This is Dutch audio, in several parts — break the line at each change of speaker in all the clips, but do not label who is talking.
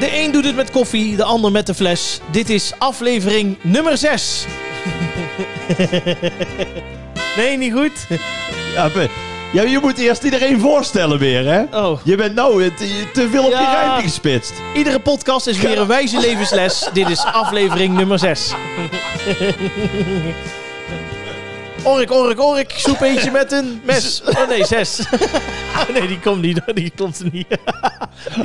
De een doet het met koffie, de ander met de fles. Dit is aflevering nummer 6. nee, niet goed.
Ja, be- ja, je moet eerst iedereen voorstellen weer, hè?
Oh.
Je bent nou te, te veel op
Ja.
je rijmpje gespitst.
Iedere podcast is weer een wijze levensles. Dit is aflevering nummer 6. Ork, ork, ork, soep eentje met een mes. Oh nee, 6. Oh nee, die komt niet. hoor. Die klopt er niet.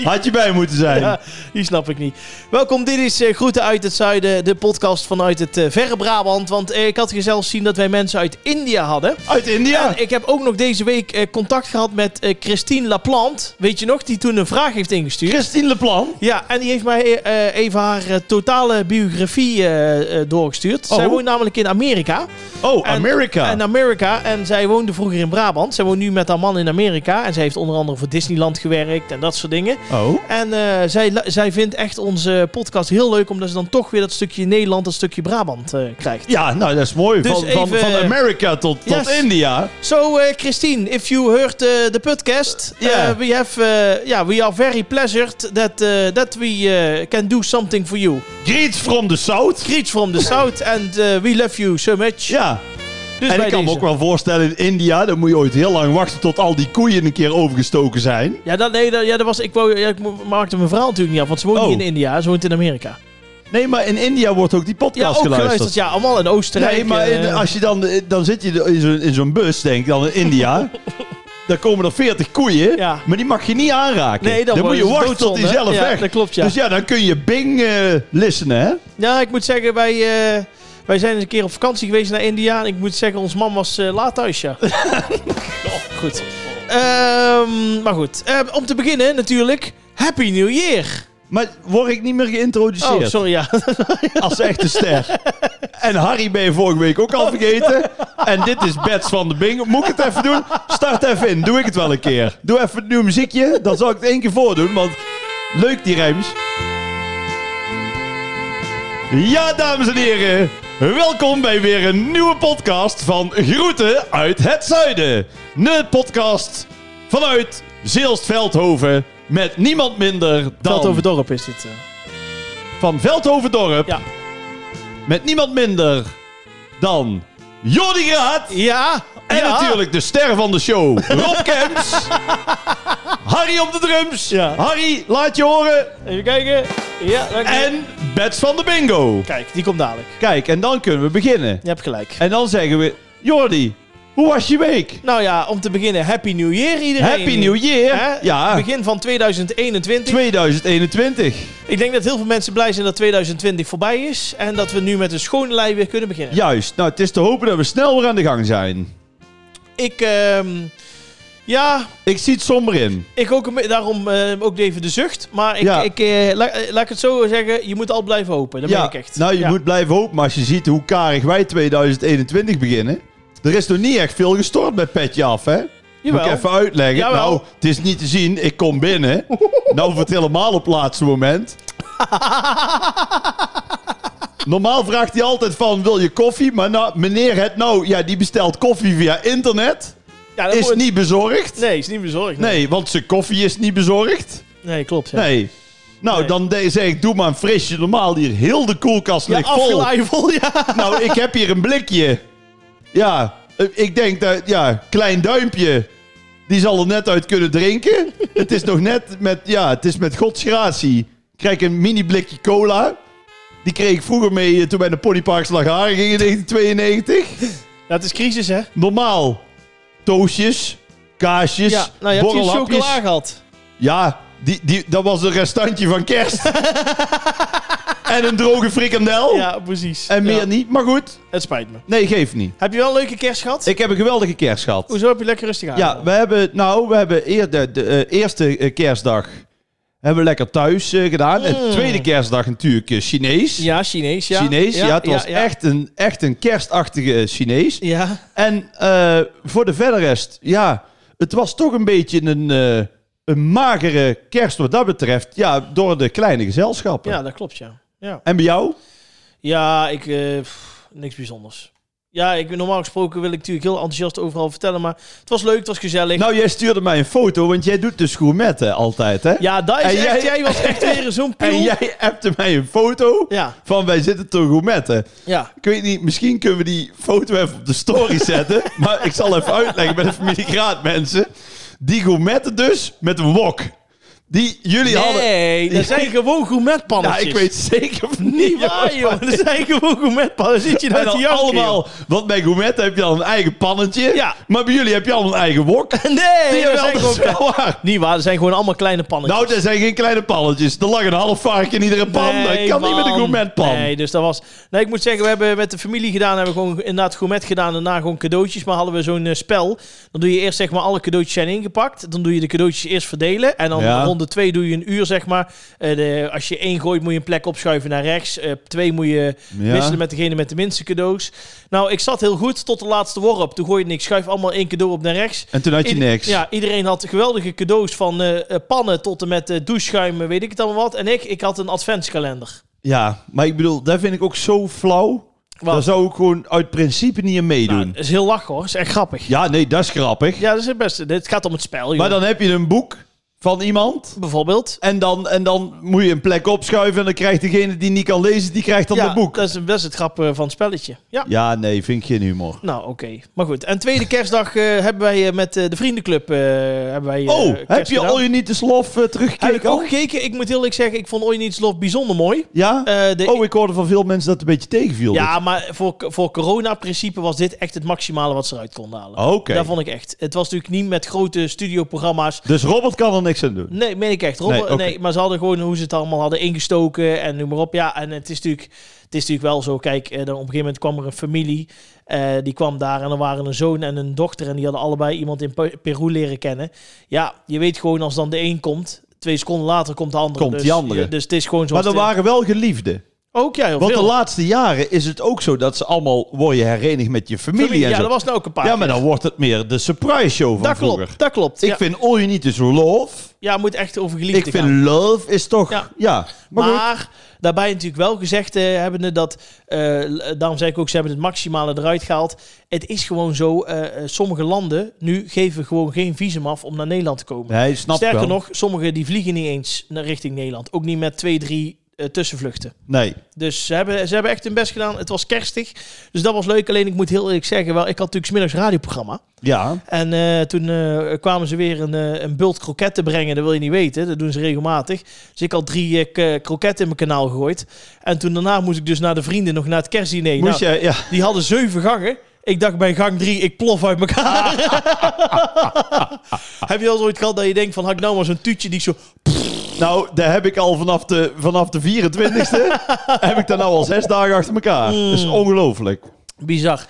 Had je bij moeten zijn.
Ja, die snap ik niet. Welkom, dit is eh, Groeten uit het Zuiden, de podcast vanuit het eh, verre Brabant. Want eh, ik had zelfs zien dat wij mensen uit India hadden.
Uit India.
En ik heb ook nog deze week eh, contact gehad met eh, Christine Laplante. Weet je nog, die toen een vraag heeft ingestuurd.
Christine Leplan.
Ja, en die heeft mij eh, even haar eh, totale biografie eh, eh, doorgestuurd.
Oh.
Zij woont namelijk in Amerika.
Oh,
En-
Amerika.
En Amerika. En zij woonde vroeger in Brabant. Zij woont nu met haar man in Amerika. En zij heeft onder andere voor Disneyland gewerkt en dat soort dingen.
oh.
En eh, zij, lu- zij vindt echt onze podcast heel leuk, omdat ze dan toch weer dat stukje Nederland, dat stukje Brabant eh, krijgt.
Ja, nou, dat is mooi.
Dus
van, van,
even-
van Amerika tot, tot
Yes.
India.
So, eh, Christine, if you heard eh, the podcast,
Yeah.
eh, we have, eh, yeah, we are very pleasured that eh, that we eh, can do something for you.
Greet from the South.
Greets from the south, and eh, we love you so much.
Ja,
Dus
en
bij
ik kan me
deze.
ook wel voorstellen in India, dan moet je ooit heel lang wachten tot al die koeien een keer overgestoken zijn.
Ja, dat, nee, dat, ja, dat was, ik, wou, ja, ik mo- maakte mijn verhaal natuurlijk niet af, want ze woont
Oh.
niet in India, ze woont in Amerika.
Nee, maar in India wordt ook die podcast
Ja, ook geluisterd. Ja, allemaal in Oostenrijk.
Nee, maar in-
eh,
als je dan, dan zit je in zo'n, in zo'n bus, denk ik, dan in India. dan komen er 40 koeien,
Ja.
maar die mag je niet aanraken.
Nee, dan
dan moet je
worden ze
wachten tot die
doodzonde.
zelf
Ja,
weg.
dat klopt, ja.
Dus ja, dan kun je Bing eh listenen, hè?
Ja, ik moet zeggen, wij, eh, wij zijn eens een keer op vakantie geweest naar India. En ik moet zeggen, ons man was eh, laat thuis, ja.
Oh,
goed. Ehm, maar goed, Eh, om te beginnen natuurlijk, Happy New Year.
Maar word ik niet meer geïntroduceerd
Oh, sorry, ja.
als echte ster. en Harry ben je vorige week ook al vergeten. en dit is Bets van de Bing. Moet ik het even doen? Start even in. Doe ik het wel een keer. Doe even het nieuwe muziekje. Dan zal ik het één keer voordoen, want leuk die rijms. Ja, dames en heren. Welkom bij weer een nieuwe podcast van Groeten uit het Zuiden. De podcast vanuit Zeelst-Veldhoven met niemand minder dan...
Veldhoven Dorp is dit. eh.
Van Veldhoven Dorp.
Ja.
Met niemand minder dan Jordi Graat.
Ja,
En
ja.
natuurlijk de ster van de show, Rob Kemps. Harry op de drums.
Ja.
Harry, laat je horen.
Even kijken. Ja, dank je.
En Bets van de Bingo.
Kijk, die komt dadelijk.
Kijk, en dan kunnen we beginnen.
Je hebt gelijk.
En dan zeggen we, Jordi, hoe was je week?
Nou ja, om te beginnen, Happy New Year iedereen.
Happy New Year.
Hè?
Ja,
Begin van 2021.
2021.
Ik denk dat heel veel mensen blij zijn dat 2020 voorbij is. En dat we nu met een schone lei weer kunnen beginnen.
Juist, nou het is te hopen dat we snel weer aan de gang zijn.
Ik, ehm, ja,
Ik zie het somber in.
ik ook, een be- daarom eh, ook even de zucht. Maar ik,
Ja.
ik, eh, la- eh, laat ik het zo zeggen, je moet al blijven hopen. Dat ben ik echt.
Nou, je
Ja.
moet blijven hopen, maar als je ziet hoe karig wij 2021 beginnen. Er is nog niet echt veel gestort bij Petje Af, hè?
Jawel.
Moet ik even uitleggen.
Jawel.
Nou, het is niet te zien. Ik kom binnen. nou, voor het helemaal op het laatste moment. Normaal vraagt hij altijd van, wil je koffie? Maar nou, meneer het nou, ja, die bestelt koffie via internet.
Ja, dat
Is
moet-
niet bezorgd.
Nee, is niet bezorgd. Nee,
Nee, want zijn koffie is niet bezorgd.
Nee, klopt. Ja.
Nee. Nou,
Nee.
dan de- zeg ik, doe maar een frisje normaal hier. Heel de koelkast
Ja,
ligt vol.
afgeleiveld, ja.
Nou, ik heb hier een blikje. Ja, eh, ik denk dat, ja, klein duimpje. Die zal er net uit kunnen drinken. Het is nog net met, ja, het is met gods gratie. Ik krijg een mini blikje cola. Die kreeg ik vroeger mee eh, toen wij naar Ponypark Slagharen gingen in 1992.
Dat is crisis, hè?
Normaal. Toosjes, kaasjes,
Ja, nou, je hebt hier
borrelhapjes.
chocola gehad.
Ja, die, die, dat was een restantje van kerst. en een droge frikandel.
Ja, precies.
En meer
Ja,
niet, maar goed.
Het spijt me.
Nee, geeft niet.
Heb je wel een leuke kerst gehad?
Ik heb een geweldige kerst gehad.
Hoezo heb je lekker rustig aan?
Ja, we hebben, nou, we hebben eer, de, de, eh, eerste eh, kerstdag hebben we lekker thuis eh, gedaan. En
Mm.
de tweede kerstdag natuurlijk eh, Chinees.
ja Chinees, ja.
Chinees, ja, het was echt, een, echt een kerstachtige eh, Chinees.
Ja.
En eh, voor de verder rest, ja, het was toch een beetje een, eh, een magere kerst wat dat betreft. Ja, door de kleine gezelschappen.
ja, dat klopt, ja. Ja,
En bij jou?
ja ik... eh, pff, niks bijzonders. Ja, ik, normaal gesproken wil ik natuurlijk heel enthousiast overal vertellen, maar het was leuk, het was gezellig.
Nou, jij stuurde mij een foto, want jij doet dus gourmetten altijd, hè?
ja, dat is
en
echt, jij,
jij-
was echt weer zo'n
En
piel.
jij appte mij een foto
Ja,
van wij zitten te gourmetten.
ja.
Ik weet niet, misschien kunnen we die foto even op de story zetten. maar ik zal even uitleggen bij de familie Graat, mensen. Die gourmetten dus met een wok. Die jullie hadden...
Nee, dat zijn gewoon
Ja,
gourmetpannetjes.
ik weet zeker van
Niet waar, joh. Dat zijn gewoon gourmetpannen. Dan zit je
En
daar te
dan
janken,
allemaal, want bij gourmetten heb je al een eigen pannetje.
Ja.
Maar bij jullie heb je al een eigen wok.
joh. Nee,
Die
dat zijn
hebben wel
gewoon...
wel waar.
Niet waar, dat zijn gewoon allemaal kleine pannetjes.
Nou, er zijn geen kleine pannetjes. Er lag een half varken in iedere pan. dat
Nee,
kan niet met een
man.
gourmetpan.
Nee, dus dat was... Nee, ik moet zeggen, we hebben met de familie gedaan, hebben we gewoon inderdaad gourmet gedaan, daarna gewoon cadeautjes. Maar hadden we zo'n eh, spel, dan doe je eerst zeg maar alle cadeautjes zijn ingepakt, dan doe je de cadeautjes eerst verdelen en dan
Ja.
ronde twee doe je een uur zeg maar. Eh, de, als je één gooit moet je een plek opschuiven naar rechts, Eh, twee moet je
Ja.
wisselen met degene met de minste cadeaus. Nou, ik zat heel goed tot de laatste worp, toen gooide ik schuif allemaal één cadeau op naar rechts.
En toen had je
Ieder-
niks.
Ja, iedereen had geweldige cadeaus van eh, eh, pannen tot en met eh, doucheschuim, eh, weet ik het allemaal wat. En ik, ik had een adventskalender.
Ja, maar ik bedoel, daar vind ik ook zo flauw.
Wat?
Daar zou ik gewoon uit principe niet aan meedoen.
Nou, dat is heel lach hoor, dat is echt grappig. Ja,
Ja, nee, dat is grappig.
dat is het beste. Dit gaat om het spel, joh.
maar dan heb je een boek van iemand.
Bijvoorbeeld.
En dan, en dan moet je een plek opschuiven. En dan krijgt degene die niet kan lezen, die krijgt dan
ja,
dat boek.
Dat is, dat is het grappige van het spelletje. Ja.
Ja, nee, vind ik geen humor.
Nou, oké. Maar goed. En tweede kerstdag eh, hebben wij eh, met eh, de vriendenclub... eh, hebben wij, eh,
oh, heb
kerst
je
gedaan.
All You Need Is Love eh,
Heb ik
teruggekeken?
ook
al?
gekeken. Ik moet heel eerlijk zeggen, ik vond All You Need Is Love bijzonder mooi.
Ja?
Eh, de
oh, ik hoorde van veel mensen dat het een beetje tegenviel.
Ja, maar voor, voor corona-principe was dit echt het maximale wat ze eruit konden halen.
Ah, Oké.
Dat vond ik echt. Het was natuurlijk niet met grote studioprogramma's.
Dus Robert kan er niks aan doen.
Nee, meen ik echt. Robbe-
Nee, oké.
nee, maar ze hadden gewoon hoe ze het allemaal hadden ingestoken en noem maar op. Ja, en het is natuurlijk, het is natuurlijk wel zo. Kijk, eh, dan op een gegeven moment kwam er een familie. eh, die kwam daar en er waren een zoon en een dochter. En die hadden allebei iemand in Pe- Peru leren kennen. Ja, je weet gewoon als dan de een komt. Twee seconden later komt de andere.
Komt
dus,
die andere.
je- dus het is gewoon zo.
Maar er waren wel geliefden.
Ook ja, heel
Want de
veel.
laatste jaren is het ook zo dat ze allemaal word je herenigd met je familie,
Familie,
en
ja,
zo.
dat was nou ook een paar.
ja, maar
keer.
dan wordt het meer de surprise show van
dat
vroeger.
klopt, dat klopt.
Ik
ja.
vind All You Need Is Love.
Ja, moet echt over geliefde
Ik vind
gaan.
Love is toch...
Ja.
Ja,
Maar,
maar, goed.
daarbij natuurlijk wel gezegd eh, hebbende dat... eh, l- daarom zei ik ook, ze hebben het maximale eruit gehaald. Het is gewoon zo, eh, eh, sommige landen nu geven gewoon geen visum af om naar Nederland te komen.
Nee, snap ik
Sterker
wel.
nog, sommigen die vliegen niet eens naar richting Nederland. Ook niet met twee, drie eh, tussenvluchten.
Nee.
Dus ze hebben, ze hebben echt hun best gedaan. Het was kerstig, dus dat was leuk. Alleen ik moet heel eerlijk zeggen, wel, ik had natuurlijk smiddags radioprogramma.
Ja.
En eh, toen eh, kwamen ze weer een, eh, een bult kroketten brengen. Dat wil je niet weten. Dat doen ze regelmatig. Dus ik had drie eh, k- kroketten in mijn kanaal gegooid. En toen daarna moest ik dus naar de vrienden nog naar het kerstdiner.
Moest
Nou,
je... Ja.
Die hadden zeven gangen. Ik dacht bij gang drie, ik plof uit elkaar. Heb je al ooit gehad dat je denkt van, had ik nou maar zo'n tuutje die ik zo...
Nou, daar heb ik al vanaf de, vanaf de 24e... heb ik daar nou al zes dagen achter elkaar.
Mm.
Dat is ongelooflijk.
Bizar.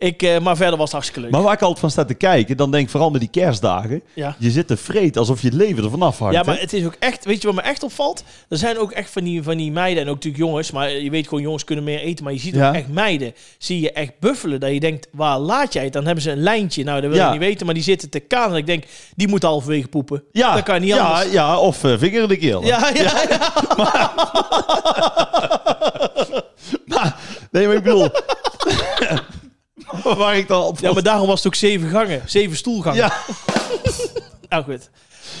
Ik, eh, maar verder was het hartstikke leuk.
Maar waar ik altijd van sta te kijken, dan denk ik vooral met die kerstdagen...
Ja.
Je zit te vreet alsof je het leven ervan afhangt.
Ja, maar
hè?
het is ook echt, weet je wat me echt opvalt? Er zijn ook echt van die, van die meiden en ook natuurlijk jongens, maar je weet gewoon, jongens kunnen meer eten, maar je ziet ook
Ja.
echt meiden, zie je echt buffelen, dat je denkt, waar laat jij het? Dan hebben ze een lijntje, nou dat wil je
Ja.
niet weten, maar die zitten te kanen. Ik denk, die moet halverwege poepen.
Ja,
dat kan niet
ja,
anders.
Ja, of eh, vinger in de keel.
Ja, ja, ja.
Nee, maar ik bedoel... waar ik dan op...
Ja, maar daarom was het ook zeven gangen, zeven stoelgangen.
Ja,
Nou goed.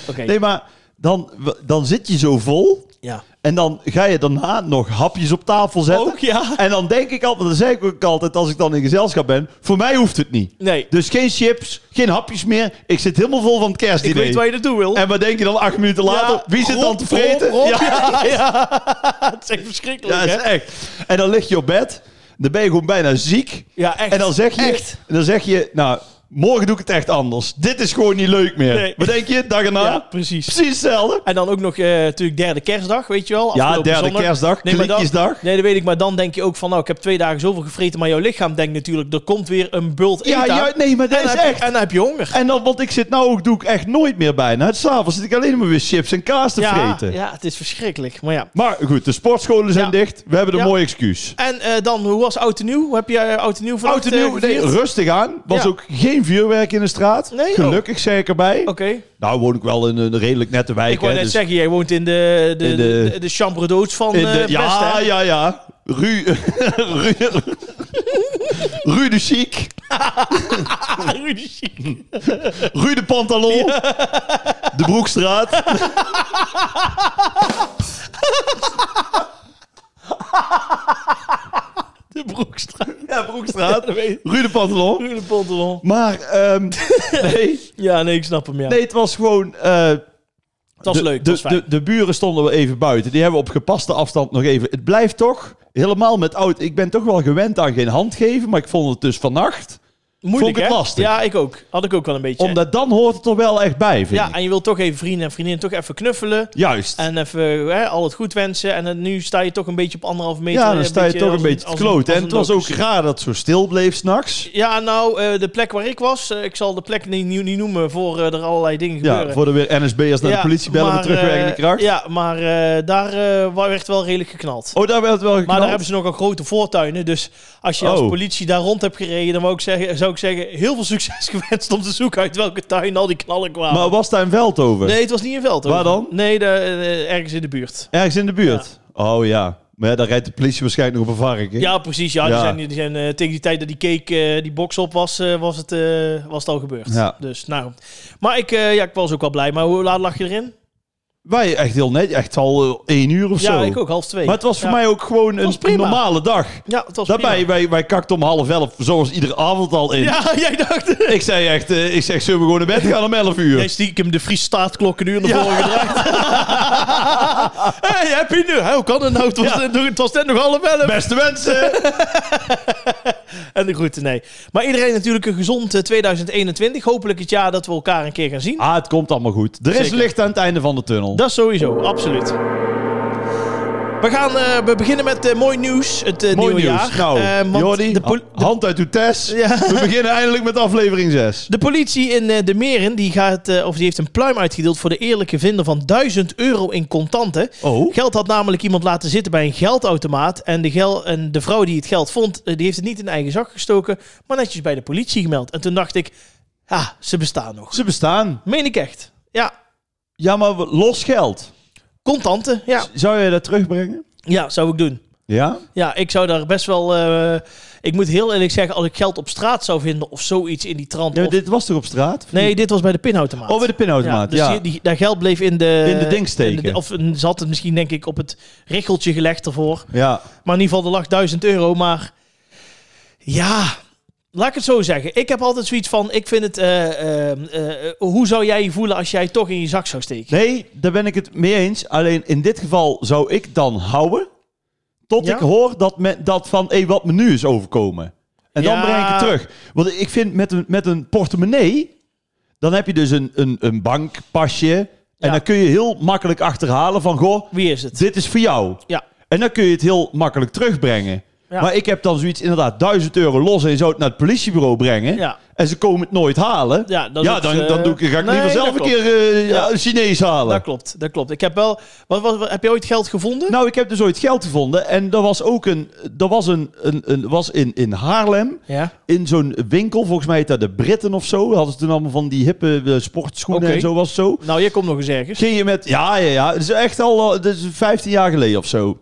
Oké,
nee, maar dan, dan zit je zo vol...
ja.
En dan ga je daarna nog hapjes op tafel zetten.
Ook, ja.
En dan denk ik altijd, dat zeg ik ook altijd als ik dan in gezelschap ben. Voor mij hoeft het niet.
Nee,
Dus geen chips, geen hapjes meer. Ik zit helemaal vol van het
ik
kerstdiner.
weet waar je naartoe wil.
En wat denk je dan acht minuten later?
Ja,
wie zit
Rob,
dan te vreten?
Rob, Rob,
ja,
ja, ja. Het is echt
ja,
verschrikkelijk,
dat
hè?
is echt. En dan lig je op bed. Dan ben je gewoon bijna ziek.
Ja, echt.
En dan zeg je,
Echt.
en dan zeg je nou, morgen doe ik het echt anders. Dit is gewoon niet leuk meer.
Nee.
Wat denk je? Dag erna?
Ja, precies.
Precies hetzelfde.
En dan ook nog eh, natuurlijk derde kerstdag, weet je wel.
Ja,
afgelopen
derde
zondag.
kerstdag,
Nee, maar dan-
klikjesdag.
Nee, dat weet ik. Maar dan denk je ook van, nou, ik heb twee dagen zoveel gevreten. Maar jouw lichaam denkt natuurlijk, er komt weer een bult
Ja,
eten aan.
ja, nee, maar dat
en,
is
dan heb je-
echt.
en dan heb je honger.
En dan, want ik zit nou ook, doe ik echt nooit meer bijna. Het s'avonds zit ik alleen maar weer chips en kaas te
ja,
vreten.
ja, het is verschrikkelijk. Maar ja.
Maar goed, de sportscholen zijn
Ja.
dicht. We hebben een
Ja.
mooi excuus.
En eh, dan, hoe was Oud en Nieuw? Hoe heb je eh, Oud en Nieuw vannacht
Oud en nieuw,
eh,
nee,
gevierd?
rustig aan. Was
Ja.
ook geen vuurwerk in de straat.
Nee, oh. joh.
Gelukkig zeg ik erbij.
Oké.
Nou woon ik wel in een redelijk nette wijk.
Ik wou
hè,
net
dus
zeggen, jij woont in de, de,
In
de,
de-
de, chambre d'hôtes van
in de-
eh, Best,
ja,
hè?
ja, ja. Ru, ru, Ruud de Chic,
Oh,
Ruud de Pantalon, de Broekstraat.
De broekstraat.
Ja, Broekstraat.
Dat weet ik.
Ruud de Pantalon.
Ruud de Pantelon.
Maar, ehm, nee,
Ja, nee, ik snap hem, ja.
nee, het was gewoon... eh,
het was
de,
leuk, het
de,
was fijn.
De, de buren stonden wel even buiten. Die hebben op gepaste afstand nog even... Het blijft toch, helemaal met oud... Ik ben toch wel gewend aan geen hand geven, maar ik vond het dus vannacht...
Moeilijk,
vond ik het
hè?
lastig.
Ja, ik ook. Had ik ook wel een beetje.
Omdat dan hoort het er wel echt bij, vind
ja,
ik.
en je wilt toch even vrienden en vriendinnen toch even knuffelen.
Juist.
En even hè, al het goed wensen. En dan nu sta je toch een beetje op anderhalve meter.
ja, dan
eh,
sta je toch
als
een beetje te
als
kloten.
als
En het was ook
locus.
raar dat het zo stil bleef s'nachts.
Ja, nou, eh, de plek waar ik was, eh, ik zal de plek niet, niet, niet noemen voor eh, er allerlei dingen
Ja,
gebeuren.
voor de weer NSB'ers naar
Ja,
de politie bellen
maar,
met terugwerkende
eh,
kracht.
Ja, maar eh, daar eh, werd wel redelijk geknald.
Oh, daar werd het wel geknald.
Maar daar hebben ze nogal grote voortuinen. Dus als je als
Oh.
politie daar rond hebt gereden, dan wou ik zeggen, zou ik zeggen: heel veel succes gewenst om te zoeken uit welke tuin al die knallen kwamen.
Maar was daar een veld over?
nee, het was niet in Veldhoven.
Waar dan?
Nee, de, eh, ergens in de buurt.
Ergens in de buurt? Oh ja. Maar ja, daar rijdt de politie waarschijnlijk nog op een varken.
Ja, precies. Ja, Die
Ja.
zijn, die zijn, eh, tegen die tijd dat die cake eh, die box op was, eh, was, het, eh, was het al gebeurd.
Ja.
Dus, nou. Maar ik, eh, ja, ik was ook wel blij. Maar hoe laat lag je erin?
Wij echt heel net, echt al eh, één uur of
ja,
zo.
ik ook, half twee.
Maar het was voor
Ja.
mij ook gewoon
was
een
prima.
normale dag.
Ja, het was
Daarbij,
prima.
wij, wij kakten om half elf, zoals iedere avond al in.
Ja, jij dacht...
Ik zei echt, eh, ik zeg, zullen we gewoon naar bed gaan om elf uur?
Jij stiekem de Fries staatklok een uur naar
Ja.
voren gedraaid. hey, heb je nu? Hè, Hoe kan het nou? Het was,
Ja.
net, nog- het was net nog half elf.
Beste wensen!
En de groeten, nee. Maar iedereen natuurlijk een gezond eh, 2021. Hopelijk het jaar dat we elkaar een keer gaan zien.
ah, het komt allemaal goed. Er is
Zeker.
licht aan het einde van de tunnel.
Dat sowieso, absoluut. We gaan eh, we beginnen met eh, mooi nieuws. Het eh,
Mooi
nieuwe
nieuws.
jaar.
Nou,
Eh, want
Jordi,
de, pol-
ha- hand uit uw test.
Ja.
We beginnen eindelijk met aflevering 6.
de politie in eh, de Meren die gaat, eh, of die heeft een pluim uitgedeeld voor de eerlijke vinder van 1000 euro in contanten.
Oh.
Geld had namelijk iemand laten zitten bij een geldautomaat. En de, gel en de vrouw die het geld vond, eh, die heeft het niet in eigen zak gestoken, maar netjes bij de politie gemeld. En toen dacht ik, ah, ze bestaan nog.
Ze bestaan.
Meen ik echt. Ja,
Ja, maar we- los geld.
contanten, ja.
Zou jij dat terugbrengen?
Ja, zou ik doen.
Ja?
Ja, ik zou daar best wel. eh, ik moet heel eerlijk zeggen, als ik geld op straat zou vinden of zoiets in die trant.
ja
of-
dit was toch op straat? Of
nee,
niet?
dit was bij de pinautomaat.
Oh, bij de pinautomaat,
dus
ja.
die- die, daar geld bleef in de.
In de ding steken.
in de- of mm, ze had het misschien, denk ik, op het richeltje gelegd ervoor.
ja.
Maar in ieder geval, er lag 1000 euro. Maar ja, laat ik het zo zeggen. Ik heb altijd zoiets van: ik vind het. eh, eh, eh, hoe zou jij je voelen als jij het toch in je zak zou steken?
Nee, daar ben ik het mee eens. Alleen in dit geval zou ik dan houden. Tot
Ja?
ik hoor dat, me, dat van hé, wat me nu is overkomen. En dan
Ja.
breng ik het terug. Want ik vind met een, met een portemonnee. dan heb je dus een, een, een bankpasje. En
Ja.
dan kun je heel makkelijk achterhalen van goh,
Wie is het?
dit is voor jou.
Ja.
En dan kun je het heel makkelijk terugbrengen.
Ja.
Maar ik heb dan zoiets inderdaad, 1000 euro los en je zou het naar het politiebureau brengen.
Ja.
En ze komen het nooit halen.
Ja, dat is,
dan,
eh,
dan doe ik, ga ik
nee,
liever
dat
zelf een
klopt.
keer eh, ja, Chinees halen.
Dat klopt, dat klopt. Ik heb wel. Wat, wat, wat- heb je ooit geld gevonden?
Nou, ik heb dus ooit geld gevonden. En er was ook een. Er was, een, een, een, was in, in Haarlem.
ja.
In zo'n winkel. Volgens mij heet dat de Britten of zo. Hadden ze toen allemaal van die hippe eh, sportschoenen
Oké.
en zo was het zo.
Nou, jij komt nog eens ergens.
Ging je met. Ja, ja, ja. Het is echt al. eh, Dat is 15 jaar geleden of zo.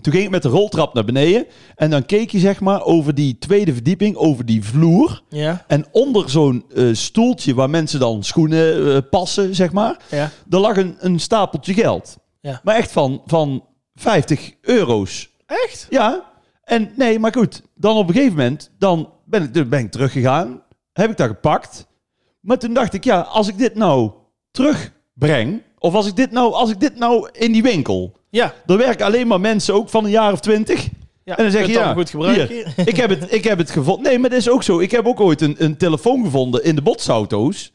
Toen ging ik met de roltrap naar beneden. En dan keek je zeg maar over die tweede verdieping. Over die vloer.
Ja,
En onder zo'n eh, stoeltje waar mensen dan schoenen eh, passen, zeg maar.
ja.
Er lag een, een stapeltje geld.
Ja.
Maar echt van, van 50 euro's.
Echt?
Ja. En nee, maar goed. Dan op een gegeven moment dan ben, ik, dan ben ik teruggegaan. Heb ik dat gepakt. Maar toen dacht ik, ja, als ik dit nou terugbreng. Of als ik dit nou, als ik dit nou in die winkel.
Ja.
Er werken alleen maar mensen ook van een jaar of twintig.
ja.
En dan zeg je,
Kunt
ja,
allemaal goed gebruiken.
Ik heb het, ik heb het gevonden. Nee, maar dat is ook zo. Ik heb ook ooit een, een telefoon gevonden in de botsauto's.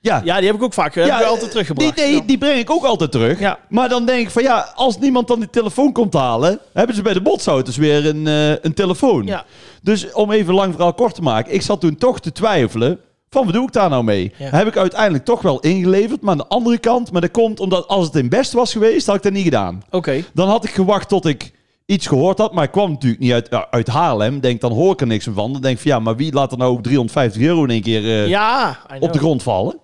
Ja,
Ja, die heb ik ook vaak. Ja, heb ik altijd teruggebracht.
die, nee,
Ja.
die breng ik ook altijd terug.
Ja.
Maar dan denk ik van ja, als niemand dan die telefoon komt halen, hebben ze bij de botsauto's weer een, eh, een telefoon.
Ja.
Dus om even lang verhaal kort te maken, ik zat toen toch te twijfelen van wat doe ik daar nou mee?
Ja.
Heb ik uiteindelijk toch wel ingeleverd, maar aan de andere kant, maar dat komt omdat als het in best was geweest, had ik dat niet gedaan.
Oké.
Dan had ik gewacht tot ik iets gehoord had, maar ik kwam natuurlijk niet uit, ja, uit Haarlem. Denk, dan hoor ik er niks meer van. Dan denk ik van ja, maar wie laat er nou ook 350 euro in één keer eh,
Ja, I know.
op de grond vallen?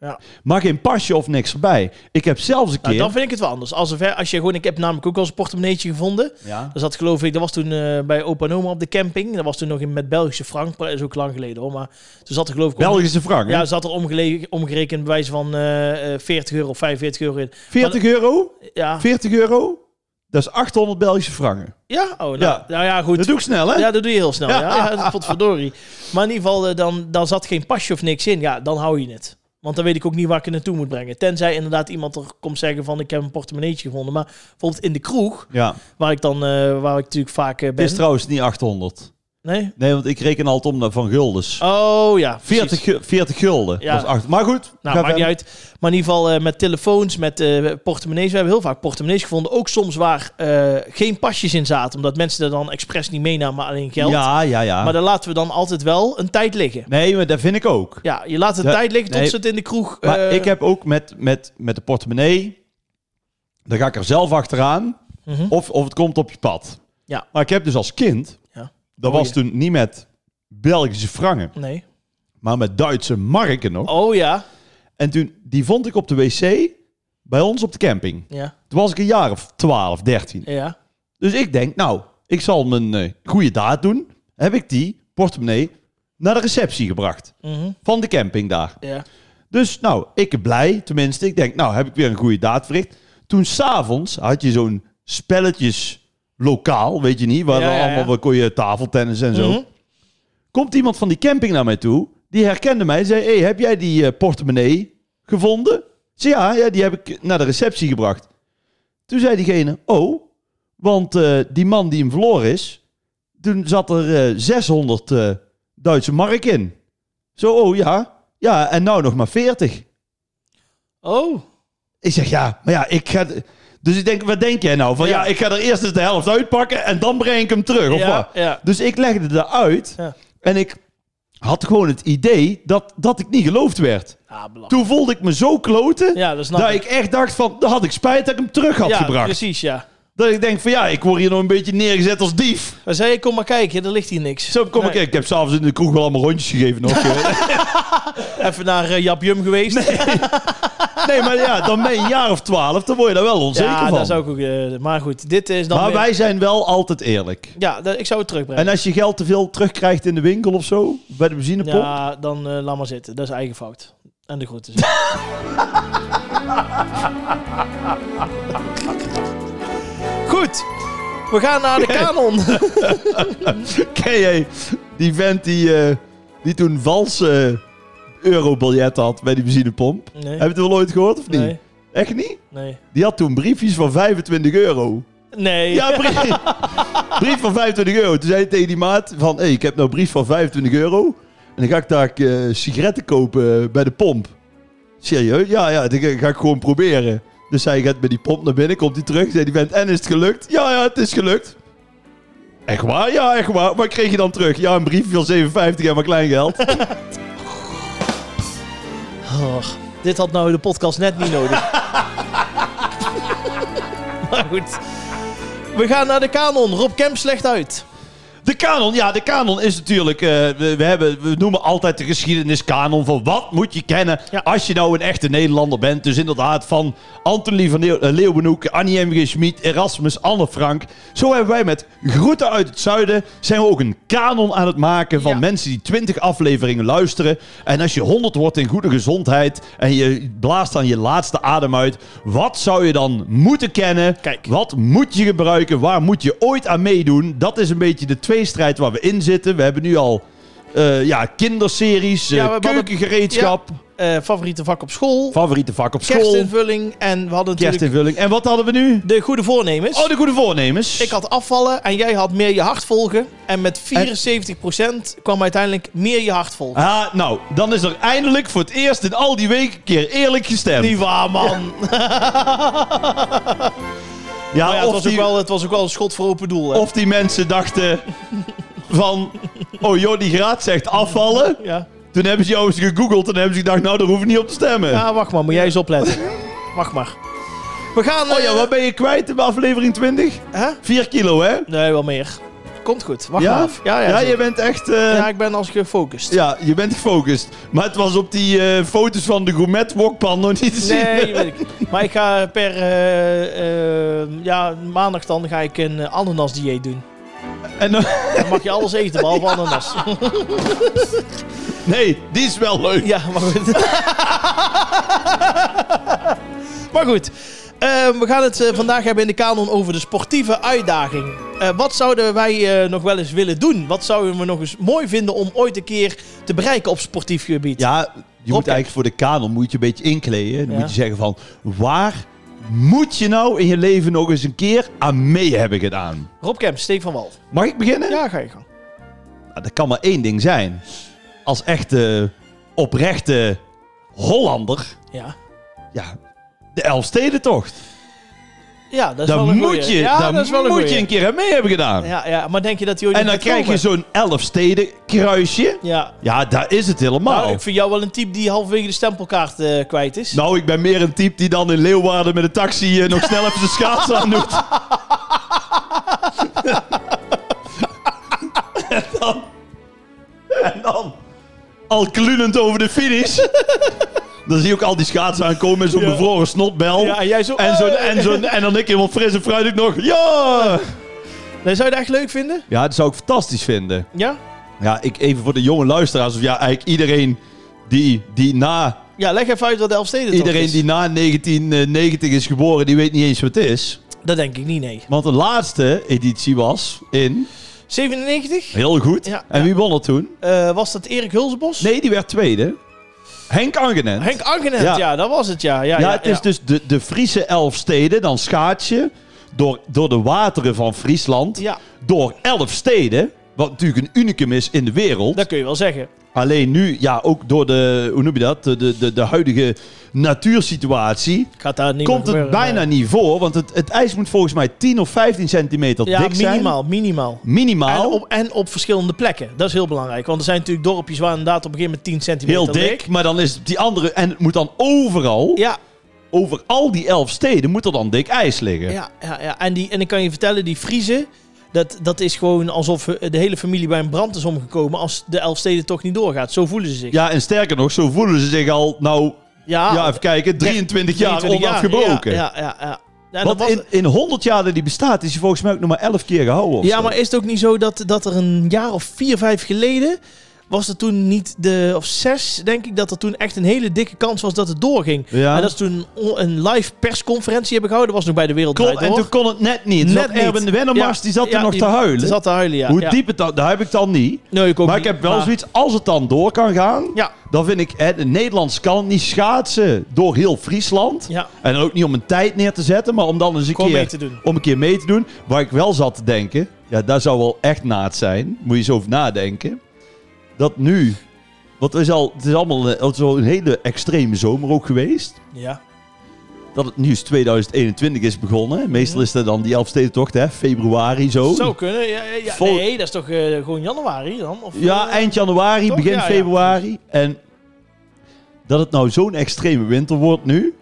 Ja.
Maar geen pasje of niks erbij. Ik heb zelfs een
Nou,
keer...
dan vind ik het wel anders. Als, er- als je gewoon, ik heb namelijk ook al eens een portemonneetje gevonden.
ja.
Dat zat geloof ik, dat was toen eh, bij opa en oma op de camping. Dat was toen nog in, met Belgische frank, maar dat is ook lang geleden hoor. Maar toen zat er geloof ik... om-
Belgische frank, hè?
Ja, zat er omgele- omgerekend bij wijze van eh, eh, 40 euro of 45 euro in.
40 euro?
Ja,
40 euro? Dat is 800 Belgische franken.
ja? Oh, nou,
Ja.
nou ja, goed.
Dat doe ik snel, hè?
Ja, dat doe je heel snel. Ja,
Ja.
ja dat- potverdorie. Maar in ieder geval, eh, dan, dan zat geen pasje of niks in. Ja, dan hou je het. Want dan weet ik ook niet waar ik het naartoe moet brengen. Tenzij inderdaad iemand er komt zeggen van ik heb een portemonneetje gevonden. Maar bijvoorbeeld in de kroeg,
Ja.
waar ik dan eh, waar ik natuurlijk vaak eh,
Het is
ben.
trouwens niet 800.
Nee?
Nee, want ik reken altijd om naar van guldens.
Oh ja. precies.
40, gu- 40 gulden.
Ja.
Dat is acht- maar goed.
Nou,
ga
maakt niet
verder.
uit. Maar in ieder geval eh, met telefoons, met eh, portemonnees. We hebben heel vaak portemonnees gevonden. Ook soms waar eh, geen pasjes in zaten. Omdat mensen er dan expres niet meenamen, maar alleen geld.
Ja, ja, ja.
Maar dan laten we dan altijd wel een tijd liggen.
nee, maar dat vind ik ook.
Ja, je laat het
Ja,
tijd liggen tot
nee.
ze het in de kroeg...
Maar
eh,
ik heb ook met, met, met de portemonnee... Dan ga ik er zelf achteraan.
Mhm.
Of, of het komt op je pad.
Ja.
Maar ik heb dus als kind...
Ja.
Dat
Oh,
was
ja.
toen niet met Belgische franken.
Nee.
Maar met Duitse marken nog.
Oh ja.
En toen, die vond ik op de wc bij ons op de camping.
Ja.
Toen was ik een jaar of 12, 13.
Ja.
Dus ik denk, nou, ik zal mijn eh, goede daad doen. Heb ik die portemonnee naar de receptie gebracht
Mhm.
van de camping daar.
Ja.
Dus nou, ik blij, tenminste. Ik denk, nou, heb ik weer een goede daad verricht. Toen s'avonds had je zo'n spelletjeslokaal, weet je niet, waar
Ja,
dan
ja, ja.
allemaal waar kon je tafeltennis en zo.
Mhm.
Komt iemand van die camping naar mij toe, die herkende mij en zei, hey, heb jij die eh, portemonnee gevonden? Ik zei, ja, ja, die heb ik naar de receptie gebracht. Toen zei diegene, oh, want eh, die man die hem verloren is, toen zat er eh, 600 eh, Duitse mark in. Zo, oh ja, ja, en nou nog maar 40.
Oh.
Ik zeg ja, maar ja, ik ga. Dus ik denk, wat denk jij nou? Van
Ja.
ja, ik ga er eerst eens de helft uitpakken en dan breng ik hem terug. Of
ja.
wat?
Ja.
Dus ik legde dat uit
Ja.
en ik had gewoon het idee dat, dat ik niet geloofd werd.
Ah, belachelijk.
Toen voelde ik me zo kloten
Ja, dat snap
dat ik echt dacht van, dan had ik spijt dat ik hem terug had
ja,
gebracht.
precies, ja.
Dat ik denk van ja, ik word hier nog een beetje neergezet als dief.
Maar zei je, kom maar kijken, er ligt hier niks.
Zo kom ik, ik heb s'avonds in de kroeg wel allemaal rondjes gegeven nog. eh.
Even naar eh, Jap Jum geweest.
nee, maar ja, dan ben je een jaar of twaalf, dan word je daar wel onzeker
ja,
van.
daar zou ik ook... eh, maar goed, dit is dan...
maar
weer-
wij zijn wel altijd eerlijk.
Ja, dat- ik zou het terugbrengen.
En als je geld te veel terugkrijgt in de winkel of zo, bij de benzinepomp.
Ja, dan eh, laat maar zitten. Dat is eigen fout. En de groeten. Goed. We gaan naar de kanon.
Ken jij die vent die, eh, die toen valse eh, eurobiljetten had bij die benzinepomp?
Nee.
Heb je het wel ooit gehoord of niet?
Nee.
Echt niet?
Nee.
Die had toen briefjes van 25 euro.
Nee.
Ja, brief, brief van 25 euro. Toen zei hij tegen die maat van, hey, ik heb nou een brief van 25 euro. En dan ga ik daar eh, sigaretten kopen bij de pomp. Serieus? Ja, ja, dat ga ik gewoon proberen. Dus hij gaat met die pomp naar binnen, komt hij terug. Zei die vent, en is het gelukt? Ja, ja, het is gelukt. Echt waar? Ja, echt waar. Wat kreeg je dan terug? Ja, een briefje van 57 en maar kleingeld.
Och, dit had nou de podcast net niet nodig. maar goed. We gaan naar de kanon. Rob Kemp slecht uit.
De kanon, ja, de kanon is natuurlijk. eh, we, we hebben, we noemen altijd de geschiedenis kanon. Van wat moet je kennen
Ja.
als je nou een echte Nederlander bent? Dus inderdaad, van Anthony van Leeu- eh, Leeuwenhoek, Annie M. G. Schmid, Erasmus, Anne Frank. Zo hebben wij met Groeten uit het Zuiden. zijn we ook een kanon aan het maken van
Ja.
mensen die 20 afleveringen luisteren. En als je 100 wordt in goede gezondheid. en je blaast dan je laatste adem uit. wat zou je dan moeten kennen?
Kijk.
Wat moet je gebruiken? Waar moet je ooit aan meedoen? Dat is een beetje de tweestrijd waar we in zitten. We hebben nu al eh, ja, kinderseries, eh,
Ja, we hadden-
keukengereedschap,
Eh, favoriete vak op school.
favoriete vak op school,
Kerstinvulling. En we hadden natuurlijk
kerstinvulling. En wat hadden we nu?
de goede voornemens.
Oh, de goede voornemens.
Ik had afvallen en jij had meer je hart volgen. En met 74% kwam uiteindelijk meer je hart volgen.
Ah, nou, dan is er eindelijk voor het eerst in al die weken een keer eerlijk gestemd.
Ah, Niet waar, man.
ja,
Maar ja,
of,
het, was
die,
ook wel, het was ook wel een schot voor open doel. Hè?
of die mensen dachten van... Oh joh, die graad zegt afvallen.
Ja.
Toen hebben ze jou eens gegoogeld en hebben ze gedacht... Nou, daar hoef ik niet op te stemmen.
ja, Ah, wacht maar. Moet jij eens opletten. Wacht maar. We gaan...
Oh ja,
eh,
wat ben je kwijt in aflevering 20?
hè?
4 kilo, hè?
Nee, wel meer. komt goed. Wacht
Ja?
maar af. Ja, ja,
Ja,
zeker.
je bent echt... eh,
ja, ik ben als gefocust.
Ja, je bent gefocust. Maar het was op die eh, foto's van de gourmet wokpan nog niet te zien.
Nee, weet ik. Maar ik ga per eh, eh, ja, maandag dan ga ik een eh, ananas-dieet doen.
En dan-
Dan mag je alles eten, behalve ananas.
nee, die is wel leuk.
Ja, maar goed. maar goed. Eh, we gaan het eh, vandaag hebben in de kanon over de sportieve uitdaging. Eh, wat zouden wij eh, nog wel eens willen doen? Wat zouden we nog eens mooi vinden om ooit een keer te bereiken op sportief gebied?
Ja, je moet
Oké.
eigenlijk voor de kanon moet je een beetje inkleden. Dan
Ja.
moet je zeggen van, waar moet je nou in je leven nog eens een keer aan mee hebben gedaan?
Rob Kemp, Steek van Wal.
Mag ik beginnen?
Ja, ga je gang.
Nou, dat kan maar één ding zijn. Als echte, oprechte Hollander,
Ja,
ja, de Elfstedentocht.
ja dat is wel
Dan
een
moet
goeie.
je,
ja,
daar
dat is wel een
moet
goeie.
je een keer aan mee hebben gedaan.
Ja, ja, maar denk je dat hij ooit
En
nog
dan
gaat
krijg je
komen?
zo'n Elfsteden kruisje.
Ja.
Ja, daar is het helemaal.
Nou, ik vind jou wel een type die halverwege de stempelkaart eh, kwijt is.
Nou, ik ben meer een type die dan in Leeuwarden met een taxi eh, nog snel even zijn schaats aan doet. en dan... En dan... Al klunend over de finish. dan zie je ook al die schaatsen aankomen en zo'n
Ja.
bevroren snotbel.
Ja, en jij zo...
En, zo'n,
eh.
en, zo'n, en dan ik helemaal fris en fruitig nog. Ja!
Nee, Eh, zou je dat echt leuk vinden?
Ja, dat zou ik fantastisch vinden.
Ja?
Ja, ik, even voor de jonge luisteraars. Of ja, eigenlijk iedereen die, die na
Ja, leg even uit wat de Elfsteden
Iedereen die na 1990 is geboren, die weet niet eens wat het is.
Dat denk ik niet, nee.
Want de laatste editie was in...
97?
Heel goed.
Ja.
en wie won er toen?
Eh, was dat Erik Hulsebos?
Nee, die werd tweede. Henk Angenent.
Henk Angenent, ja.
Ja.
dat was het, ja. Ja,
ja, het is dus de, de Friese elf steden, dan schaatsje. Door, door de wateren van Friesland.
Ja,
Door elf steden. Wat natuurlijk een unicum is in de wereld.
dat kun je wel zeggen.
Alleen nu, ja, ook door de, hoe noem je dat? De, de, de, de huidige natuursituatie.
Gaat daar niet
komt
meer eh,
het
gebeuren,
bijna
nee.
niet voor. Want het, het ijs moet volgens mij 10 of 15 centimeter
Ja,
dik zijn. Nou.
minimaal, minimaal. En
Minimaal.
op, en op verschillende plekken. Dat is heel belangrijk. Want er zijn natuurlijk dorpjes waar inderdaad op een gegeven moment 10 centimeter
Heel dik.
ligt.
Maar dan is het die andere... En het moet dan overal,
Ja,
over al die elf steden, moet er dan dik ijs liggen.
ja, ja, ja. En, die, en ik kan je vertellen, die Friese, dat, dat is gewoon alsof eh, de hele familie bij een brand is omgekomen als de Elfsteden toch niet doorgaat. Zo voelen ze zich.
Ja, en sterker nog, zo voelen ze zich al, nou,
Ah. Ja,
ja, even kijken, 23, jaar
23
onafgebroken.
Ja, ja, ja. ja. En dat
Want
was-
in, in 100 jaar dat die bestaat, is hij volgens mij ook nog maar 11 keer gehouden. of
Ja,
zo.
maar is het ook niet zo dat, dat er een jaar of vier, vijf geleden. was er toen niet de. of zes, denk ik, dat er toen echt een hele dikke kans was dat het doorging.
Ja.
En dat ze toen on- een live persconferentie hebben gehouden. was nog bij de Wereld
Klopt,
Draait
en
Door.
toen kon het net niet. Net
Net niet.
Erwin de Wennemars,
Ja,
die zat
ja,
er nog
die-
te huilen.
Ze zat te huilen, ja.
Hoe
ja.
diep het dan, daar heb ik dan niet.
Nee, ik ook
Maar ik
niet,
heb wel
maar-
zoiets, als het dan door kan gaan,
Ja,
dan vind ik, hè, de Nederlands kan niet schaatsen door heel Friesland.
ja.
En ook niet om een tijd neer te zetten, maar om dan eens een
Gewoon
keer,
mee te doen.
om een keer mee te doen. Waar ik wel zat te denken, ja, daar zou wel echt naad zijn. Moet je eens over nadenken. Dat nu, want het is, al, het is allemaal eh, het is al een hele extreme zomer ook geweest.
ja.
Dat het nu is 2021 is begonnen. Meestal is dat dan die Elfstedentocht, hè? Februari zo.
Zou kunnen. Ja, ja, ja.
Oh. Vol-
Nee, dat is toch eh, gewoon januari dan? Of,
Ja,
eh,
eind januari,
Toch?
begin
Ja, ja.
februari. En dat het nou zo'n extreme winter wordt nu.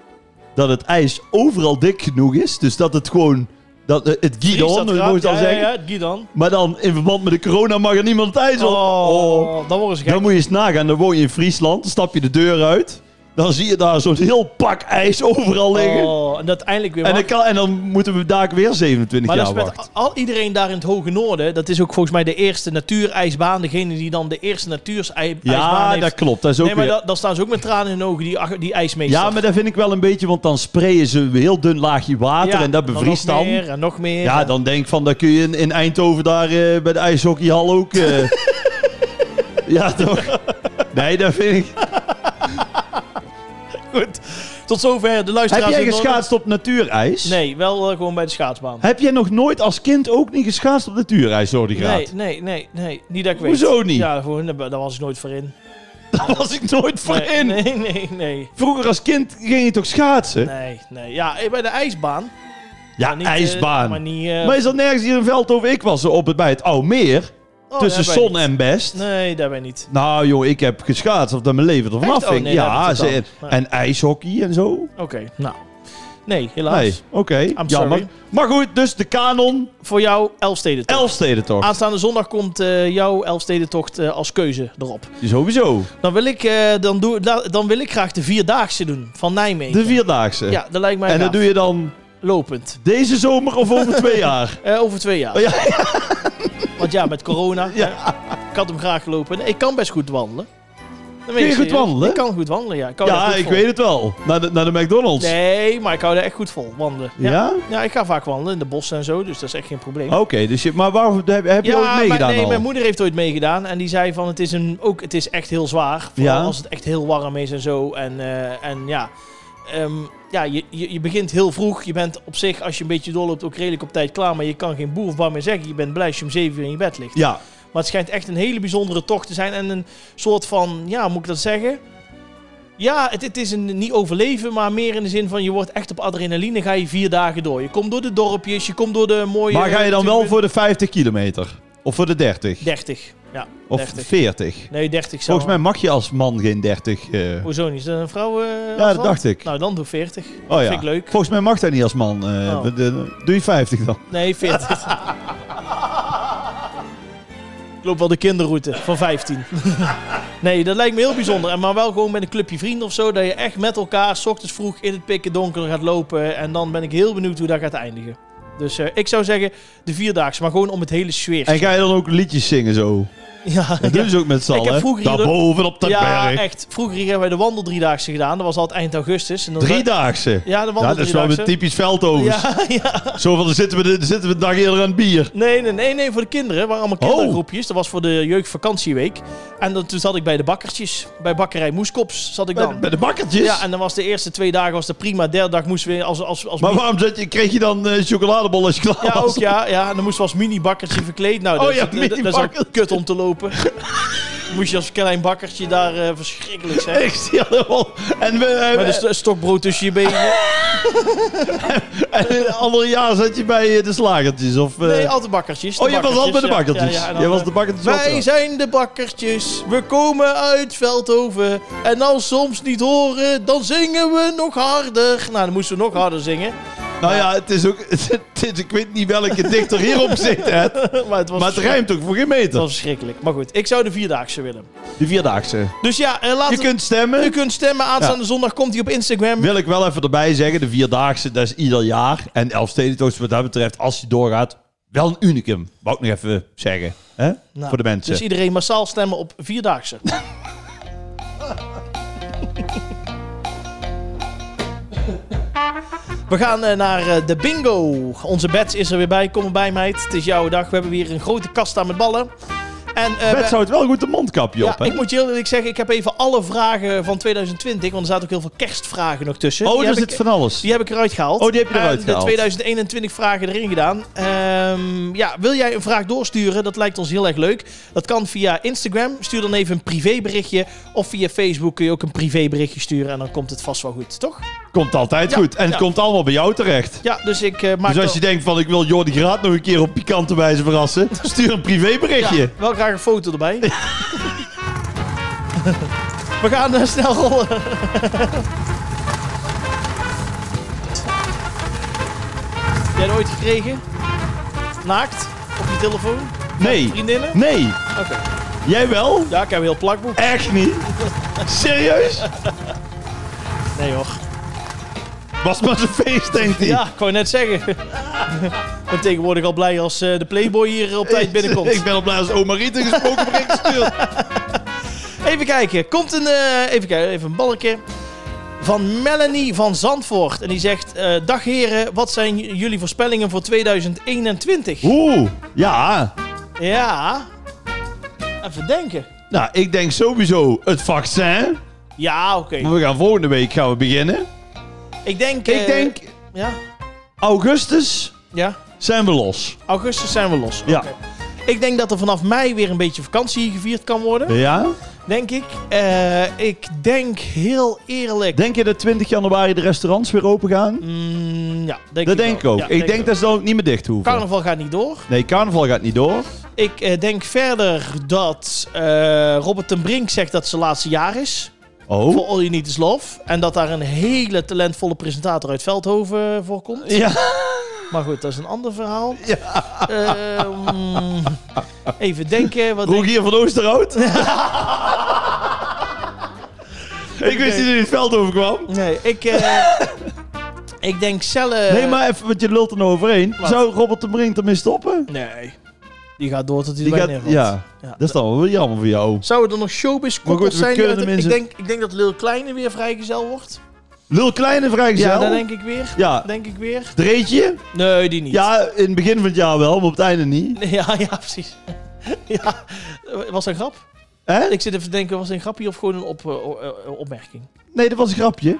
Dat het ijs overal dik genoeg is. Dus dat het gewoon. Dat, eh, het
Vries dat
Gidon, dat
gaat.
moet
ja,
al
ja,
zeggen.
Ja, het Gidan.
Maar dan in verband met de corona mag er niemand het ijs op.
Oh,
Oh.
dan worden ze gek.
Dan moet je eens nagaan. Dan woon je in Friesland. Dan stap je de deur uit. Dan zie je daar zo'n heel pak ijs overal liggen.
Oh, en dat eindelijk weer
en,
mag.
dan kan, en dan moeten we daar weer 27
Maar dat
jaar
is
wachten.
met al iedereen daar in het hoge noorden. Dat is ook volgens mij de eerste natuurijsbaan. Degene die dan de eerste natuurijsbaan
Ja,
heeft.
dat klopt. Dat is ook
nee, maar
weer-
da- dan staan ze ook met tranen in hun ogen, die, ach- die ijsmeester.
Ja, maar dat vind ik wel een beetje, want dan sprayen ze een heel dun laagje water en dat bevriest
nog
dan. eh,
meer en nog meer.
Ja, dan denk ik van, dat kun je in, in Eindhoven daar eh, bij de ijshockeyhal ook. eh. ja, toch? Nee, dat vind ik.
Goed. Tot zover de
Heb
luisteraars.
jij
in het
geschaatst op natuurijs?
noorden. Nee, wel eh, gewoon bij de schaatsbaan.
Heb jij nog nooit als kind ook niet geschaatst op natuurijs, hoor die
Nee, nee, nee, nee. Niet dat ik weet.
Hoezo niet?
Ja, gewoon, daar daar was ik nooit voor in.
Daar was ik nooit voor
Nee,
in.
Nee, nee, nee.
Vroeger als kind ging je toch schaatsen?
Nee, nee. Ja, eh, bij de ijsbaan.
Ja,
Maar niet, eh,
ijsbaan. maar,
maar niet... eh,
is dat nergens hier in Veldhoven? Ik was op het, bij het Oude Meer,
oh,
tussen
daar ben ik
Zon en Best.
niet. Nee, daar ben ik niet.
Nou, joh, ik heb geschaatst of dat mijn leven er
Echt?
vanaf
Oh,
hing.
nee, daar
ja,
heb ik het
ze-
dan. Ja.
en ijshockey en zo.
Oké, nou. Nee, helaas.
Nee, oké. Jammer.
sorry.
Maar goed, dus de kanon,
Voor jou Elfstedentocht.
Elfstedentocht.
Aanstaande zondag komt eh, jouw Elfstedentocht eh als keuze erop.
Sowieso.
Dan wil ik, eh, dan doe, da- dan wil ik graag de Vierdaagse doen van Nijmegen.
De Vierdaagse.
Ja, dat lijkt mij
en dat
gaaf.
doe je dan
lopend.
deze zomer of over twee jaar?
Eh, over twee jaar.
Oh, ja.
Want ja, met corona.
Ja.
eh, ik had hem graag gelopen. Nee, ik kan best goed wandelen. Dan ben
je
ik
goed
serieus.
wandelen?
Ik kan goed wandelen, ja. Ik hou daar
ja,
goed
ik
vol.
weet het wel. Naar de, naar de McDonald's.
Nee, maar ik hou daar echt goed vol wandelen.
Ja?
Ja, ik ga vaak wandelen in de bossen en zo, dus dat is echt geen probleem.
Oké, dus je, maar waarom heb, heb je
ja,
ooit meegedaan
mijn, nee,
al?
mijn moeder heeft ooit meegedaan en die zei van het is, een, ook, het is echt heel zwaar. Vooral
Ja.
als het echt heel warm is en zo. En, eh, en ja, ehm, ja je, je, je begint heel vroeg. Je bent op zich, als je een beetje doorloopt, ook redelijk op tijd klaar. Maar je kan geen boer of bar meer zeggen. Je bent blij als je om zeven uur in je bed ligt.
Ja,
Maar het schijnt echt een hele bijzondere tocht te zijn. En een soort van, ja, moet ik dat zeggen? Ja, het, het is een niet overleven, maar meer in de zin van je wordt echt op adrenaline. Ga je vier dagen door. Je komt door de dorpjes, je komt door de mooie.
maar ga je dan wel voor de 50 kilometer? Of voor de 30?
30. Ja,
of
30.
40?
Nee, 30 zou.
Volgens mij mag je als man geen 30. eh,
Hoezo niet? Is dat een vrouw? eh,
ja, dat
afstand?
dacht ik.
Nou, dan doe 40.
oh ja.
vind ik leuk.
Volgens mij mag dat niet als man. eh,
Oh.
de- de- Doe je 50 dan?
Nee, 40. ik loop wel de kinderroute van 15. nee, dat lijkt me heel bijzonder. En Maar wel gewoon met een clubje vrienden of zo. Dat je echt met elkaar s ochtends vroeg in het pikken donker gaat lopen. En dan ben ik heel benieuwd hoe dat gaat eindigen. Dus eh, ik zou zeggen de vierdaagse, maar gewoon om het hele sfeer.
En ga je dan ook liedjes zingen zo?
Ja,
Dat doen ze ook met z'n
Ik heb
allen. hè?
vroeger hier ook-
Daarboven op de
ja
berg.
echt. Vroeger hebben wij de wandeldriedaagse gedaan. Dat was altijd eind augustus. En dan
Driedaagse.
Ja, de
Ja, dat is wel
wandeldriedaagse.
een typisch veldovens.
Ja, ja.
Zo van, dan zitten we, de, dan zitten we de dag eerder aan het bier.
Nee, nee, nee, nee, voor de kinderen. Het waren allemaal
Oh.
kindergroepjes. Dat was voor de jeugdvakantieweek. En dan, toen zat ik bij de bakkertjes. Bij bakkerij Moeskops zat ik
Bij,
dan.
Nou, bij de bakkertjes.
Ja, en dan was de eerste twee dagen was dat prima. Derde dag moesten we als... als, als
Maar waarom zet je, kreeg je dan eh chocoladebol als je klaar
ja,
was?
ook ja, ja. En dan moesten we als mini-bakkertje verkleed. Nou,
Oh
dat,
ja,
dat- dat, dat is al
mini-bakker.
kut om te lopen. moest je als klein bakkertje daar eh, verschrikkelijk zijn.
Ik zie allemaal. En, we, eh,
Met een st- stokbrood tussen je benen.
en een ander jaar zat je bij eh, de slagertjes. Of, eh,
Nee, altijd bakkertjes. de
oh, je was altijd bij de
bakkertjes,
bakkertjes.
ja. Ja, ja, en dan,
Jij was
eh,
de bakkertjes.
Wij
op-
zijn de bakkertjes, we komen uit Veldhoven. En als soms niet horen, dan zingen we nog harder. Nou, dan moesten we nog harder zingen.
Nou ja, het is ook. het is- ik weet niet welke dichter hierop zit,
maar
hè.
het was,
Maar het
verschrik-
rijmt ook voor geen
het
meter.
was verschrikkelijk. Maar goed, ik zou de Vierdaagse willen.
De vierdaagse.
Dus ja, eh, laat
Je kunt stemmen.
u kunt stemmen. Aanstaande zondag komt hij op Instagram.
Wil ik wel even erbij zeggen, de Vierdaagse, dat is ieder jaar. En Elfstedentocht, wat dat betreft, als die doorgaat, wel een unicum. Wou ik nog even zeggen, hè?
Nou,
voor de mensen.
Dus iedereen massaal stemmen op Vierdaagse. We gaan eh, naar eh, de bingo. Onze bets is er weer bij. Kom erbij, meid. Het is jouw dag. We hebben weer een grote kast aan met ballen. En, eh,
Bert
we-
zou het wel goed een mondkapje
ja,
op, hè?
ik moet je heel eerlijk zeggen, ik heb even alle vragen van 2020, want er zaten ook heel veel kerstvragen nog tussen.
oh,
Die
daar
heb
zit
ik-
van alles.
die heb ik eruit gehaald.
Oh, die heb je eruit
En
gehaald.
De 2021 vragen erin gedaan. Ehm, ja, wil jij een vraag doorsturen? Dat lijkt ons heel erg leuk. Dat kan via Instagram. Stuur dan even een privéberichtje. Of via Facebook kun je ook een privéberichtje sturen. En dan komt het vast wel goed, toch?
Komt altijd
Ja,
goed. En
ja.
het komt allemaal bij jou terecht.
Ja, dus ik eh, maak
Dus als
wel-
je denkt van, ik wil Jordi Graat nog een keer op pikante wijze verrassen, stuur een privéberichtje.
ja, wel graag een foto erbij. We gaan eh, snel rollen. Heb jij dat ooit gekregen? Naakt? Op je telefoon?
Nee.
Vriendinnen?
Nee.
Oké.
Jij wel?
Ja, ik heb een heel plakboek.
Echt niet? Serieus?
Nee hoor.
Was maar zo'n feest, denkt hij.
Ja, ik wou net zeggen. ik ben tegenwoordig al blij als eh, de Playboy hier op tijd
Ik
binnenkomt.
ben al blij als oma Rieten gesproken bericht gestuurd.
Even kijken. Komt een, eh, even kijken, even een balkje. Van Melanie van Zandvoort. En die zegt, eh, dag heren, wat zijn j- jullie voorspellingen voor 2021?
Oeh, ja.
Ja. Even denken.
Nou, ik denk sowieso het vaccin.
Ja, oké.
Maar we gaan volgende week gaan we beginnen.
Ik denk... eh,
Ik denk
Ja,
augustus
ja.
zijn we los.
Augustus zijn we los.
Ja.
Oké. Ik denk dat er vanaf mei weer een beetje vakantie gevierd kan worden.
Ja?
Denk ik. Eh, ik denk heel eerlijk.
Denk je dat 20 januari de restaurants weer open gaan?
Mm, ja, denk
Dat
ik
denk ik
wel.
ook.
Ja,
ik denk
wel.
dat ze dan ook niet meer dicht hoeven.
Carnaval gaat niet door.
Nee, carnaval gaat niet door.
Ik eh, denk verder dat eh, Robert ten Brink zegt dat het zijn laatste jaar is.
Oh.
voor All You Need Is Love. En dat daar een hele talentvolle presentator uit Veldhoven voor komt.
Ja.
Maar goed, dat is een ander verhaal. Ehm, even denken. Wat denk-
Rogier van Oosterhout? ik wist niet dat hij het veld overkwam.
Nee, ik, eh, ik denk zelf...
Nee, maar even, want je lult er nou overheen. Zou Robert de Brink ermee stoppen?
Nee. Die gaat door tot hij erbij neervalt.
ja,
Ja.
dat is dan wel jammer voor jou.
Zouden er nog showbiz
goed,
koppels
we
zijn? die
kunnen
uit-
hem in
ik,
zijn-
denk, ik denk dat Lil Kleine weer vrijgezel wordt.
Lul Kleine vrijgezel?
Ja, dat denk ik weer.
Ja.
Denk ik weer.
Dreetje?
Nee, die niet.
Ja, in het begin van het jaar wel, maar op het einde niet.
Nee, ja, ja, precies. ja, was dat een grap?
Hè?
Ik zit even te denken, was het een grapje of gewoon een op, eh, o- eh, opmerking?
Nee, dat was een grapje.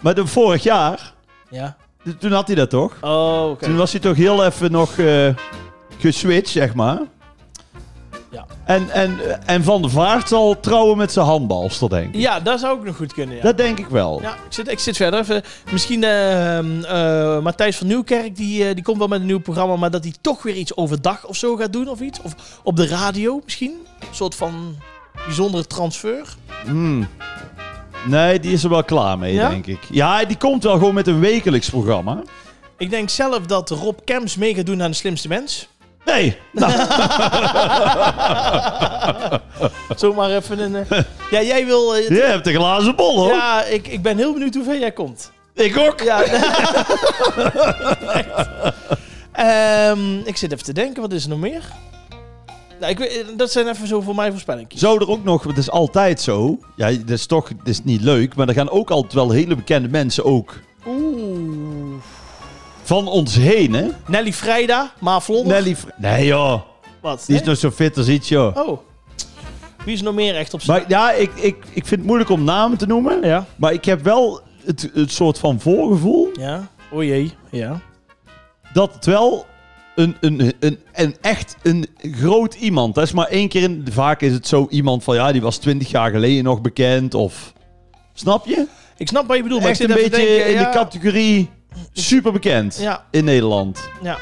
Maar de, vorig jaar,
Ja.
t- toen had hij dat toch?
Oh, oké.
Toen was hij toch heel even nog eh, geswitcht, zeg maar.
Ja.
En, en, en Van der Vaart zal trouwen met zijn handbalster, denk ik.
Ja, dat zou ook nog goed kunnen, ja.
Dat denk ik wel.
Ja, ik zit, ik zit verder. Even, misschien ehm, eh, Matthijs van Nieuwkerk, die, eh, die komt wel met een nieuw programma, maar dat hij toch weer iets overdag of zo gaat doen of iets. Of op de radio misschien. Een soort van bijzondere transfer.
Hmm. Nee, die is er wel klaar mee,
Ja?
denk ik. Ja, die komt wel gewoon met een wekelijks programma.
Ik denk zelf dat Rob Kemps mee gaat doen aan de slimste mens.
Nee,
Zomaar even een. eh, ja, jij wil. eh,
je hebt een glazen bol, hoor.
ja, ik, ik ben heel benieuwd hoe ver jij komt.
Ik ook.
Ja. Ehm, ik zit even te denken, wat is er nog meer? Nou, ik, weet- dat zijn even zo voor mij voorspellingen.
Zo er ook nog, het is altijd zo. Ja, dat is toch dat is niet leuk, maar er gaan ook altijd wel hele bekende mensen ook
Oeh.
van ons heen, hè?
Nelly Vrijda, Ma Vlodder.
Nelly... Fr- Nee, joh.
Wat?
Die is
Nee?
nog zo fit als iets, joh.
Oh. Wie is nog meer echt op zijn...
Maar ja, ik, ik, ik vind het moeilijk om namen te noemen.
Ja.
Maar ik heb wel het, het soort van voorgevoel
Ja. O jee. Ja.
dat het wel een, een, een, een echt een groot iemand dat is. Maar één keer in, vaak is het zo iemand van ja, die was twintig jaar geleden nog bekend of... Snap je?
Ik snap wat je bedoelt, maar
Echt
ik
een
zit even
beetje
te denken,
in
ja.
de categorie superbekend
Ja.
in Nederland.
Ja.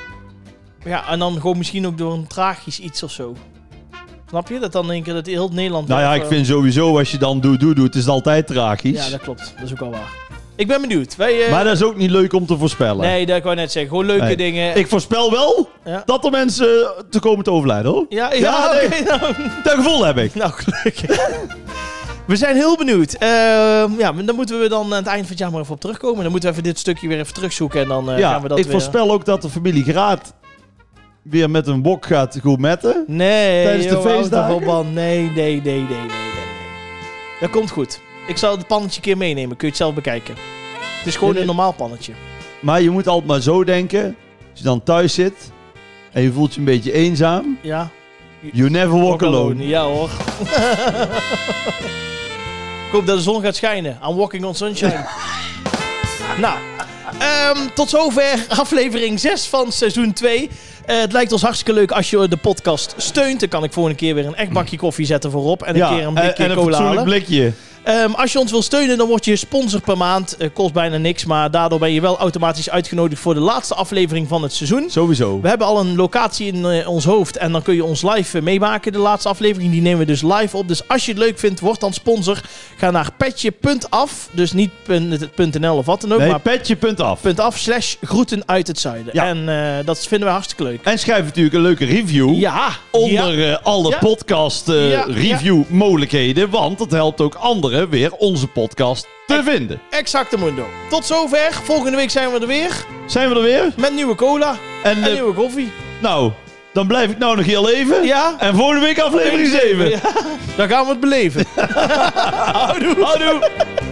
Ja, en dan gewoon misschien ook door een tragisch iets of zo. Snap je? Dat dan denk ik dat heel Nederland...
Nou ja,
of,
ik vind sowieso als je dan doet, doet, doet, het is altijd
eh,
tragisch.
Ja, dat klopt. Dat is ook wel waar. Ik ben benieuwd. Wij, eh,
Maar dat is ook niet leuk om te voorspellen.
Nee, dat kan ik net zeggen. Gewoon leuke
Nee.
dingen.
Ik voorspel wel
Ja.
dat er mensen eh, te komen te overlijden, hoor.
Ja, ja,
Ja,
oké.
nee.
nou,
Dat gevoel heb ik.
Nou, gelukkig. We zijn heel benieuwd. Ehm, ja, maar dan moeten we dan aan het eind van het jaar maar even op terugkomen. Dan moeten we even dit stukje weer even terugzoeken en dan eh,
ja,
gaan we dat
ik
weer...
voorspel ook dat de familie Graat weer met een wok gaat gourmetten.
Nee,
tijdens de
joh, houd
feestdagen.
toch op, man. Nee, nee, nee, nee, nee, nee, nee. Dat komt goed. Ik zal het pannetje een keer meenemen. Kun je het zelf bekijken. Het is gewoon
Nee,
een
nee.
normaal pannetje.
Maar je moet altijd maar zo denken. Als je dan thuis zit en je voelt je een beetje eenzaam.
Ja.
You never walk alone.
Ja hoor. Ik hoop dat de zon gaat schijnen. I'm walking on sunshine. nou, ehm, tot zover aflevering 6 van seizoen 2. Eh, het lijkt ons hartstikke leuk als je de podcast steunt. Dan kan ik volgende keer weer een echt bakje koffie zetten voorop. En een
Ja, eh,
keer een
en,
blikje
en een
cola
fatsoenlijk
halen.
blikje.
Ehm, als je ons wil steunen, dan word je sponsor per maand. Eh, kost bijna niks, maar daardoor ben je wel automatisch uitgenodigd voor de laatste aflevering van het seizoen.
Sowieso.
We hebben al een locatie in eh, ons hoofd en dan kun je ons live eh, meemaken. De laatste aflevering die nemen we dus live op. Dus als je het leuk vindt, word dan sponsor. Ga naar petje.af, dus niet punt- punt .nl of wat dan ook,
Nee,
maar
petje punt af.
punt .af slash groeten uit het zuiden.
Ja.
En eh, dat vinden we hartstikke leuk.
En schrijf natuurlijk een leuke review.
Ja, ja.
Onder eh, alle
Ja.
podcast eh,
Ja, ja.
review mogelijkheden. Want dat helpt ook anderen weer onze podcast te vinden.
exacte mundo. Tot zover. Volgende week zijn we er weer
Zijn we er weer?
met nieuwe cola
En,
en
eh,
nieuwe koffie.
nou, dan blijf ik nou nog heel even.
Ja.
En volgende week aflevering 7.
Ja, dan gaan we het beleven. Houdoe.
Houdoe.